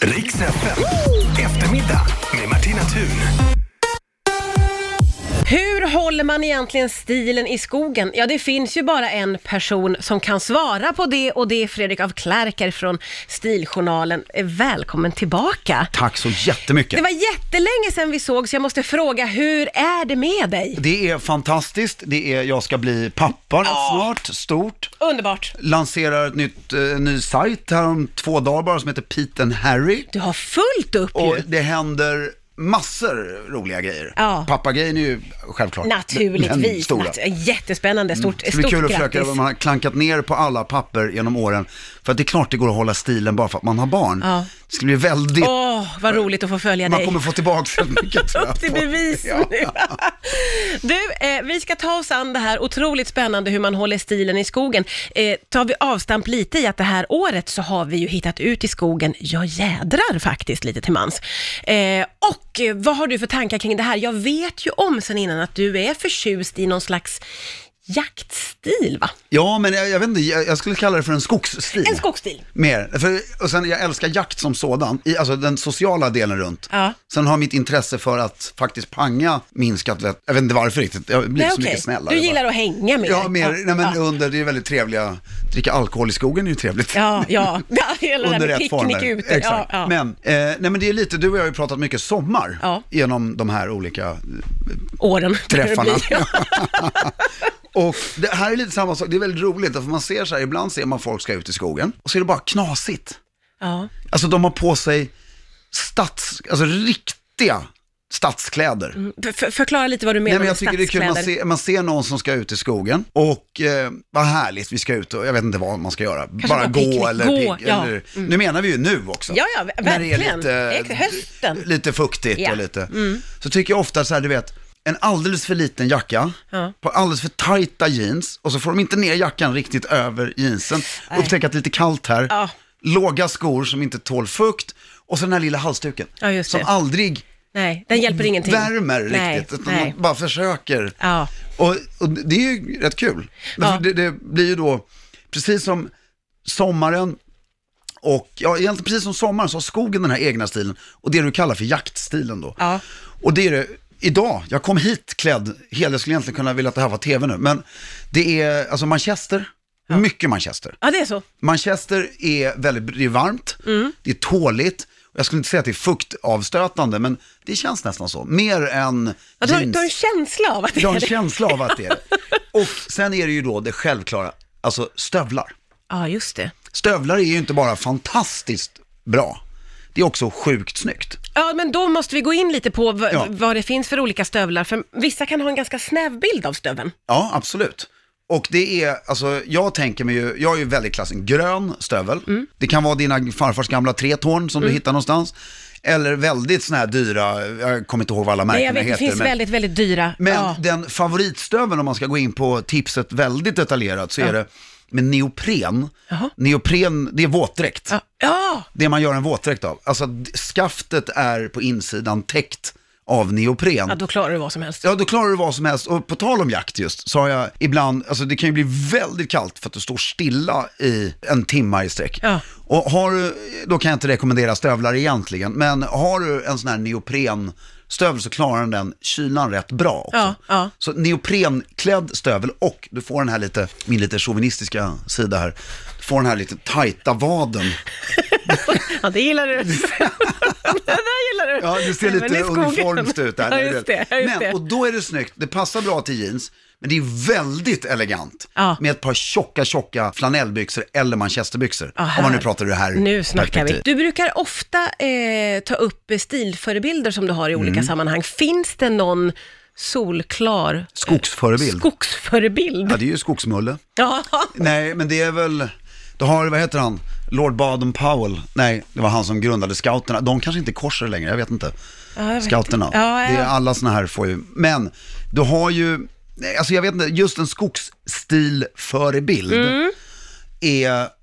Riks FM. Eftermiddag med Martina Thun. Hur håller man egentligen stilen i skogen? Ja, det finns ju bara en person som kan svara på det och det är Fredrik af Klerker från Stiljournalen. Eh, Välkommen tillbaka! Tack så jättemycket. Det Det, var jättelänge sedan vi såg så jag måste fråga, hur är det med dig? är fantastiskt. Det är, jag ska bli pappa rätt snart, stort. Underbart! Lanserar ett nytt, eh, ny sajt här om två dagar bara som heter Pete and Harry. Du har fullt upp Och ju! det händer massor roliga grejer. Ja. Pappagrejen är ju självklart den Naturligtvis! stora. Mm. Nat- Jättespännande, stort, Det blir stort kul att försöka, grattis! man har klankat ner på alla papper genom åren. För att det är klart det går att hålla stilen bara för att man har barn. Ja. Det ska bli väldigt, Åh, vad roligt att få följa man dig! kommer få tillbaka så mycket tror jag. upp till på- bevis Ja. nu. Du, eh, vi ska ta oss an det här otroligt spännande hur man håller stilen i skogen. Eh, tar vi avstamp lite i att det här året så har vi ju hittat ut i skogen, jag jädrar faktiskt lite till mans. Eh, och eh, vad har du för tankar kring det här? Jag vet ju om sen innan att du är förtjust i någon slags jaktstil va? Ja, men jag, jag vet inte, jag, jag skulle kalla det för en skogsstil. En skogsstil. Mer. För, och sen, jag älskar jakt som sådan, i, alltså den sociala delen runt. Ja. Sen har mitt intresse för att faktiskt panga minskat lätt. Jag vet inte varför riktigt, jag blir så mycket snällare. Du bara. gillar att hänga med. Ja, mer, nej, men ja. under, det är väldigt trevliga, dricka alkohol i skogen är ju trevligt. Ja, ja. Hela det där Under med rätt former. picknick ute. Exakt. Ja, ja. Men, eh, nej, men det är lite, du och jag har ju pratat mycket sommar Ja. genom de här olika Åren. träffarna. Ja. och det här är lite samma sak, det är väldigt roligt, för man ser så här, ibland ser man folk ska ut i skogen och så är det bara knasigt. ja. Alltså de har på sig stats, alltså riktiga stadskläder. För- för- förklara lite vad du menar Nej, men jag med tycker det är kul, man Mm, stadskläder. ser, man ser någon som ska ut i skogen och eh, vad härligt, vi ska ut och jag vet inte vad man ska göra, bara bara gå picknick. eller, Gå, pick- ja. Mm. eller Nu menar vi ju nu också. Ja, ja, När det är verkligen. lite, Ex- hösten. lite fuktigt Ja. Mm. och lite. Så tycker jag ofta så här, du vet, en alldeles för liten jacka, Ja. på alldeles för tajta jeans och så får de inte ner jackan riktigt över jeansen. Upptäcker att det är lite kallt här, Ja. låga skor som inte tål fukt och så den här lilla halsduken Ja, just som det. aldrig Nej, den hjälper ingenting. värmer nej, riktigt, utan Nej. man bara försöker. Ja. Och, och det är ju rätt kul. Därför Ja. Det, det blir ju då, precis som sommaren, och ja, egentligen precis som sommaren så har skogen den här egna stilen och det du kallar för jaktstilen då. Ja. Och det är det, idag, jag kom hit klädd, hel, jag skulle egentligen kunna vilja att det här var tv nu, men det är alltså Manchester, mycket Manchester. ja, det är så. Manchester är väldigt, det är varmt, Mm. det är tåligt, jag skulle inte säga att det är fuktavstötande, men det känns nästan så. Mer än Ja, du, har, jeans. du har en känsla av att det Jag har är en det. känsla av att det är det. Och sen är det ju då det självklara, alltså stövlar. Ja, just det. Stövlar är ju inte bara fantastiskt bra, det är också sjukt snyggt. Ja, men då måste vi gå in lite på v- Ja. vad det finns för olika stövlar, för vissa kan ha en ganska snäv bild av stöveln. Ja, absolut. Och det är, alltså jag tänker mig ju, jag är ju väldigt klass, en grön stövel. Mm. Det kan vara dina farfars gamla tretårn som du hittar någonstans. Eller väldigt sådana här dyra, jag kommer inte ihåg vad alla Nej, jag märkena vet, det heter. finns men- väldigt, väldigt dyra. Men ja. den favoritstöveln, om man ska gå in på tipset väldigt detaljerat, så är det med neopren. Jaha. Neopren, det är våtdräkt. Ja. ja, Det man gör en våtdräkt av. Alltså d- skaftet är på insidan täckt av neopren. ja, då klarar du vad som helst. Ja, då klarar du vad som helst. Och på tal om jakt just, så har jag ibland, alltså det kan ju bli väldigt kallt för att du står stilla i en timma i sträck. Ja. Och har du, då kan jag inte rekommendera stövlar egentligen, men har du en sån här neopren stövel så klarar den den kylan rätt bra också. Ja, ja. Så neoprenklädd stövel och du får den här lite, min lite chauvinistiska sida här, du får den här lite tajta vaden. Ja, det gillar du. det där gillar du. Ja, det ser lite Även i skogen. uniformt ut där. Ja, just det. Ja, just men, det. och då är det snyggt, det passar bra till jeans, men det är väldigt elegant Ja. med ett par tjocka, tjocka flanellbyxor eller manchesterbyxor. Ja, om man nu här. pratar ur det här Nu snackar vi. perspektivet. Du brukar ofta eh, ta upp eh, stilförebilder som du har i olika Mm. sammanhang. Finns det någon solklar Skogsförebild. skogsförebild? Ja, det är ju skogsmulle. Ja, Nej, men det är väl, då har, vad heter han, Lord Baden Powell, nej, det var han som grundade scouterna. De kanske inte korsar längre, jag vet inte. jag vet Scouterna. inte. Ja, Det ja. är alla sådana här får ju, men du har ju, nej, Mm. alltså jag vet inte, just en skogsstilförebild är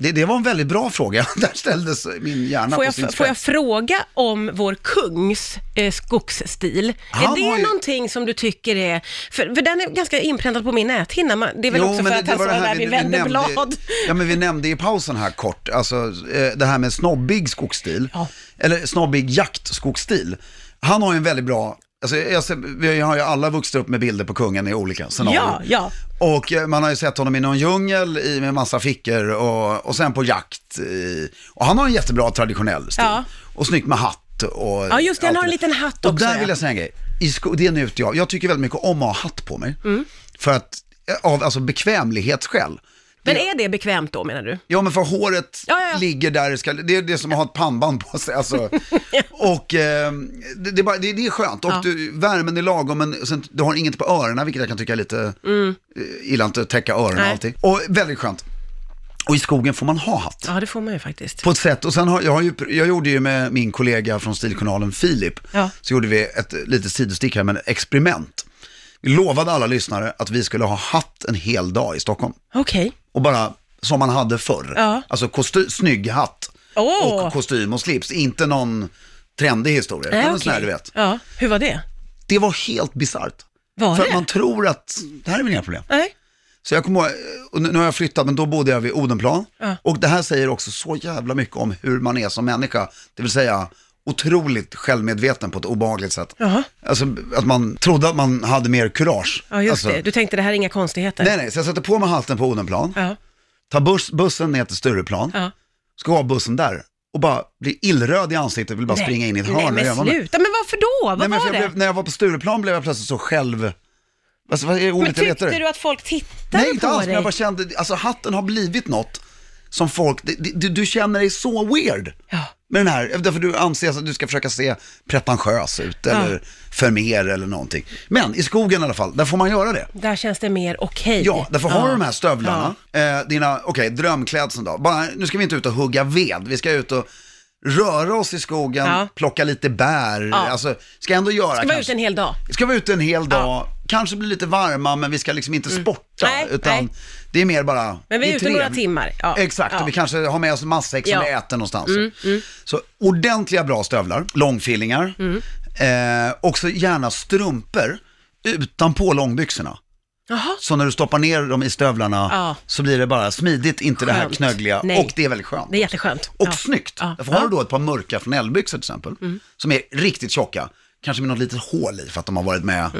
Det, det var en väldigt bra fråga. Där ställdes min hjärna Får på jag, sin får jag spets. fråga om vår kungs eh, skogsstil? Han är det var ju- någonting som du tycker är... För, för den är ganska inpräntad på min näthinna. Man- Det är väl också för att han var sa där vi vände blad. Ja, men vi nämnde i pausen här kort, alltså eh, det här med snobbig skogsstil, Ja. eller snobbig jaktskogsstil. Han har ju en väldigt bra, alltså, jag, ser- vi har ju alla vuxit upp med bilder på kungen i olika scenarier. Ja, ja. Och eh, man har ju sett honom i någon djungel i, med massa fickor och, och sen på jakt. i- Och han har en jättebra traditionell stil. Ja. Och snyggt med hatt och Ja, just det, han allt har en där. liten hatt och också, där ja. vill jag säga en grej. I sko- det njuter jag. Jag tycker väldigt mycket om att ha hatt på mig. Mm. För att, av alltså bekvämlighetsskäl. Men är det bekvämt då menar du? Ja men för håret Ja, ja, ja. ligger där det ska, det är det som att ha ett pannband på sig alltså. Och eh, det, det, är bara, det, det är skönt och Ja. du, värmen är lagom men sen, du har inget på öronen vilket jag kan tycka är lite eh, illa inte att täcka öronen Mm. Nej. och allting. Och väldigt skönt. Och i skogen får man ha hatt. Ja, det får man ju faktiskt. På ett sätt, och sen har jag, har ju, jag gjorde ju med min kollega från Stilkanalen Filip, Ja. så gjorde vi ett litet sidostick här, men experiment. Vi lovade alla lyssnare att vi skulle ha hatt en hel dag i Stockholm Okej. och bara som man hade förr. Ja. Alltså kosty- snygg hatt Åh. och kostym och slips. Inte någon trendig historia. Nej, utan en okej. sån här, du vet. Ja, hur var det? Det var helt bisarrt. Var För det? att man tror att det här är väl inga problem. Nej. Så jag kommer ihåg, och nu nu har jag flyttat men då bodde jag vid Odenplan. Ja. Och det här säger också så jävla mycket om hur man är som människa. Det vill säga otroligt självmedveten på ett obehagligt sätt. Jaha. Alltså att man trodde att man hade mer kurage. Ja, just alltså, det. Du tänkte det här är inga konstigheter? Nej, nej, så jag satte på mig hatten på Odenplan, Ja, tar buss, bussen ner till Stureplan. ja. ska ha bussen där och bara bli illröd i ansiktet och vill bara springa in i ett hörn och Nej, gömma men mig. sluta. Men varför då? Vad Nej, men för var jag det? blev, när jag var på Stureplan blev jag plötsligt så själv... Alltså, vad är Men ordet jag letar tyckte efter? du att folk tittade Nej, inte på alls, men dig? jag bara kände, alltså hatten har blivit något som folk, det- det- du, du känner dig så weird. Ja. Med den här, därför du anses att du ska försöka se pretentiös ut eller förmer eller någonting. Men i skogen i alla fall, där får man göra det. Där känns det mer okej. Ja, därför har du de här stövlarna, Ja. eh, dina, okej, drömklädseln då. Bara, nu ska vi inte ut och hugga ved, vi ska ut och röra oss i skogen, Ja. plocka lite bär, alltså, ska ändå göra Ska vara kanske. ute en hel dag. Ska vara ute en hel dag, kanske bli lite varma, men vi ska liksom inte sporta, Mm. Nej, utan nej. det är mer bara... Men vi är det ute några trevligt. timmar. Ja. Exakt, Ja. och vi kanske har med oss en matsäck som Ja. Mm, vi äter någonstans. Så ordentliga bra stövlar, långfillingar, Mm. eh, också gärna strumpor utanpå långbyxorna. Jaha. Så när du stoppar ner dem i stövlarna Ja. så blir det bara smidigt, inte det här Skönt. knögliga. Nej. Och det är väldigt skönt. Det är jätteskönt. Och Ja. snyggt. Ja. Därför har Ja. Mm. du då ett par mörka Flanellbyxor till exempel, som är riktigt tjocka. Kanske med något litet hål i för att de har varit med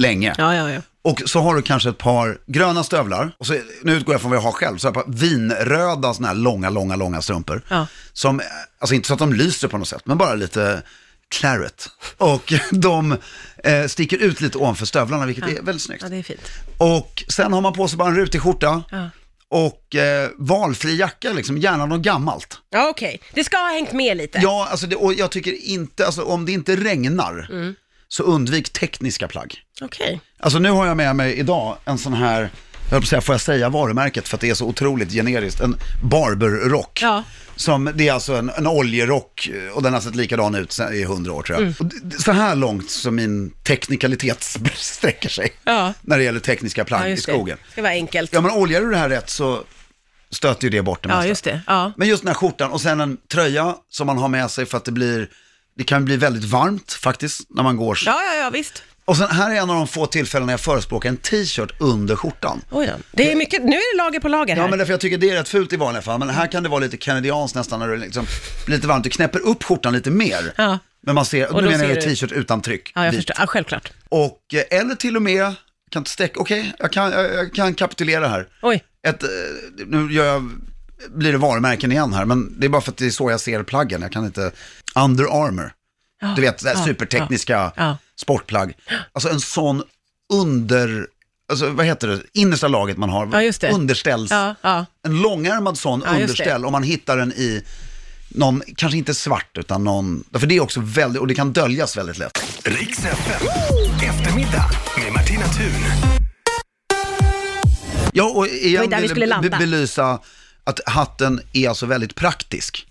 länge. Mm. Ja, ja, ja. Och så har du kanske ett par gröna stövlar. Och så, nu utgår jag från vad jag har själv. Så har jag ett par vinröda sådana här långa, långa, långa strumpor. Ja. Som, eh, alltså inte så att de lyser på något sätt, men bara lite claret. Och de eh, sticker ut lite ovanför stövlarna, vilket är väldigt snyggt. Ja, det är fint. Och sen har man på sig bara en rutig skjorta. Ja. Och eh, valfri jacka, liksom, gärna något gammalt. Ja, okej. Det ska ha hängt med lite. Ja, alltså det, och jag tycker inte, alltså, om det inte regnar, Mm. så undvik tekniska plagg. Okej. Alltså nu har jag med mig idag en sån här, jag höll på att säga, får jag säga varumärket för att det är så otroligt generiskt, en Barberrock. Ja. Som, det är alltså en, en oljerock eh, och den har sett likadan ut sen- i hundra år Mm. tror jag. Och d- d- Så här långt som min teknikalitet sträcker sig Ja. när det gäller tekniska plagg Ja, i just det. skogen. Det var enkelt. Ja men oljar du det här rätt så stöter ju det bort det Ja, mesta. just det. Ja. Men just den här skjortan och sen en tröja som man har med sig för att det blir, det kan bli väldigt varmt faktiskt när man går. Ja, ja, ja, visst. Och sen här är en av de få tillfällen när jag förespråkar en t-shirt under skjortan. Oj då. Det är mycket, nu är det lager på lager här. Ja men därför jag tycker det är rätt fult i vanliga fall, men här kan det vara lite kennedyans nästan när det liksom blir lite varmt, du knäpper upp skjortan lite mer. Ja. Men man ser, då nu menar ser jag du- t-shirt utan tryck. ja jag vit. förstår. Ja, självklart. Och, eh, eller till och med, kan inte sträcka, okej, jag, kan, jag, jag kan kapitulera här. Oj. Ett, eh, nu gör jag, blir det varumärken igen här, men det är bara för att det är så jag ser plaggen, jag kan inte, Under Armour, Ja, du vet, det här ja, supertekniska ja, ja. sportplagg. Alltså en sån under, alltså vad heter det, innersta laget man har, Ja, just det. underställs, Ja, ja. en långärmad sån Ja, just det. underställ, om man hittar den i någon, kanske inte svart, utan någon, för det är också väldigt, och det kan döljas väldigt lätt. Riks FM. Eftermiddag med Martina Thun. Ja, och igen Det var ju där vi ville skulle landa. be- belysa att hatten är alltså väldigt praktisk.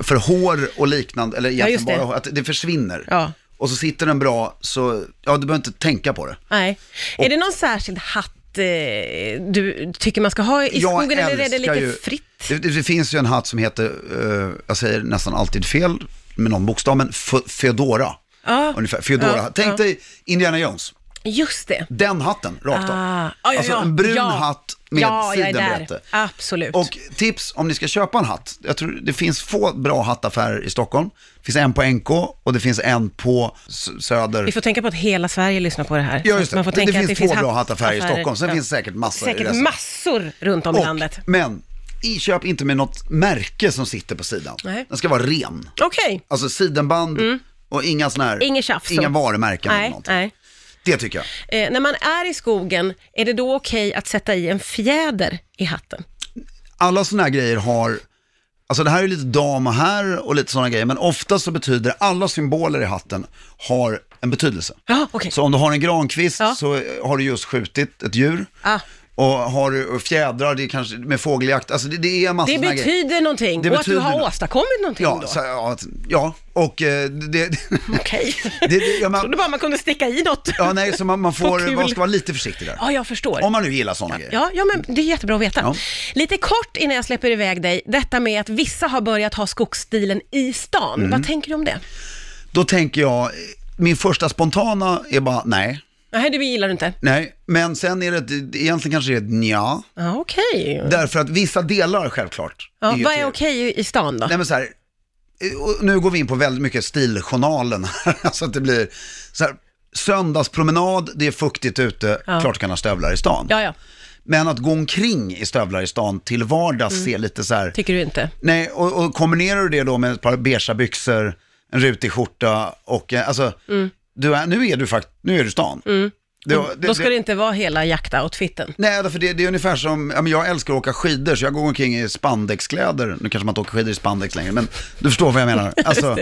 För hår och liknande, eller egentligen just det. bara hår, att det försvinner. Ja. Och så sitter den bra, så, ja du behöver inte tänka på det. Nej. Är det någon särskild hatt hatt eh, du tycker man ska ha i Jag skogen eller är det älskar lite ju- fritt? Det, det, det finns ju en hatt som heter, eh, jag säger nästan alltid fel med någon bokstav, men Fe- Fedora. Ja. Ungefär, Fedora. Ja, Tänk ja. dig Indiana Jones, Just det. den hatten, rakt av. Ah, ja, ja, alltså ja. en brun Ja. hatt med Ja, jag är sidenbräte. där. Absolut. Och tips om ni ska köpa en hatt. Jag tror det finns få bra hattaffärer i Stockholm. Det finns en på NK och det finns en på S- Söder. Vi får tänka på att hela Sverige lyssnar på det här. Ja, Så just Man det. får Det, tänka det att finns det två finns bra hatt- hattaffärer i affärer. Stockholm. Sen Ja. finns det säkert massor i Säkert resten. massor runt om i Och, landet. Men iköp inte med något märke som sitter på sidan. Nej. Den ska vara ren. Okej, Alltså sidenband och inga sådana här, Inget tjafs. inga varumärken eller nej, någonting. nej. Det tycker jag. Eh, när man är i skogen, är det då okej att sätta i en fjäder i hatten? Alla sådana här grejer har, alltså det här är lite dam och här och lite sådana grejer, men ofta så betyder alla symboler i hatten har en betydelse. Ja, okej. Så om du har en grankvist Ja. så har du just skjutit ett djur. Ah. Och har du och fjädrar, det är kanske med fågeljakt, alltså det, det är en massa Det såna här grejer. betyder någonting Det och att du betyder har något. åstadkommit någonting ja, då. så, ja, att- ja, och eh, det... det Okej. Det- det- ja, Jag men- trodde bara man kunde sticka i något. Ja, nej, så man, man, får, kul. man ska vara lite försiktig där. Ja, jag förstår. Om man nu gillar sådana grejer. Ja, ja, men det är jättebra att veta. Ja. Lite kort innan jag släpper iväg dig, detta med att vissa har börjat ha skogsstilen i stan. Mm. Vad tänker du om det? Då tänker jag, min första spontana är bara nej, Nej, det gillar du inte. nej. Men sen är det, ett- egentligen kanske det är ett nja. Ja, okej. Därför att vissa delar självklart. Ja, ju vad är trevligt. okej i stan då? Nej men så här, och nu går vi in på väldigt mycket stiljournalen här, så att det blir så här, söndagspromenad, det är fuktigt ute, klart du kan ha stövlar i stan. Ja, ja, Men att gå omkring i stövlar i stan till vardags Mm. ser lite så här, tycker du inte. Nej, och, och kombinerar du det då med ett par beigea byxor, en rutig skjorta och eh, alltså, Mm. du är, nu är du fakt, nu är du stan. Det- det- Då ska det- det inte vara hela jaktoutfiten. Nej, därför det, det är ungefär som, ja, men jag älskar att åka skidor så jag går omkring i spandexkläder. Nu kanske man inte åker skidor i spandex längre, men du förstår vad jag menar. Alltså,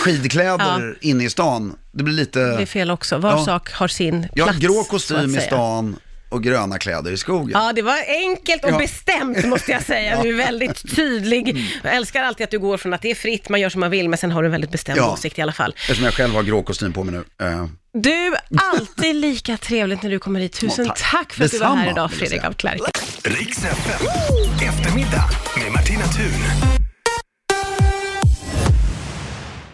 skidkläder inne i stan, det blir Det är lite, fel också. Var Ja. sak har sin ja, plats. grå så att kostym i säga. stan och gröna kläder i skogen. Ja, det var enkelt och Ja. Mm. bestämt måste jag säga. Du är väldigt tydlig. Jag älskar alltid att du går från att det är fritt, man gör som man vill, men sen har du en väldigt bestämd Ja. åsikt i alla fall. Eftersom jag själv har grå kostym på mig nu. Eh, Du, alltid lika trevligt när du kommer hit. Tusen Ja, tack. tack. för att du var Detsamma, här idag, vill jag Fredrik säga. af Klerk. Riks FM. Eftermiddag med Martina Thun.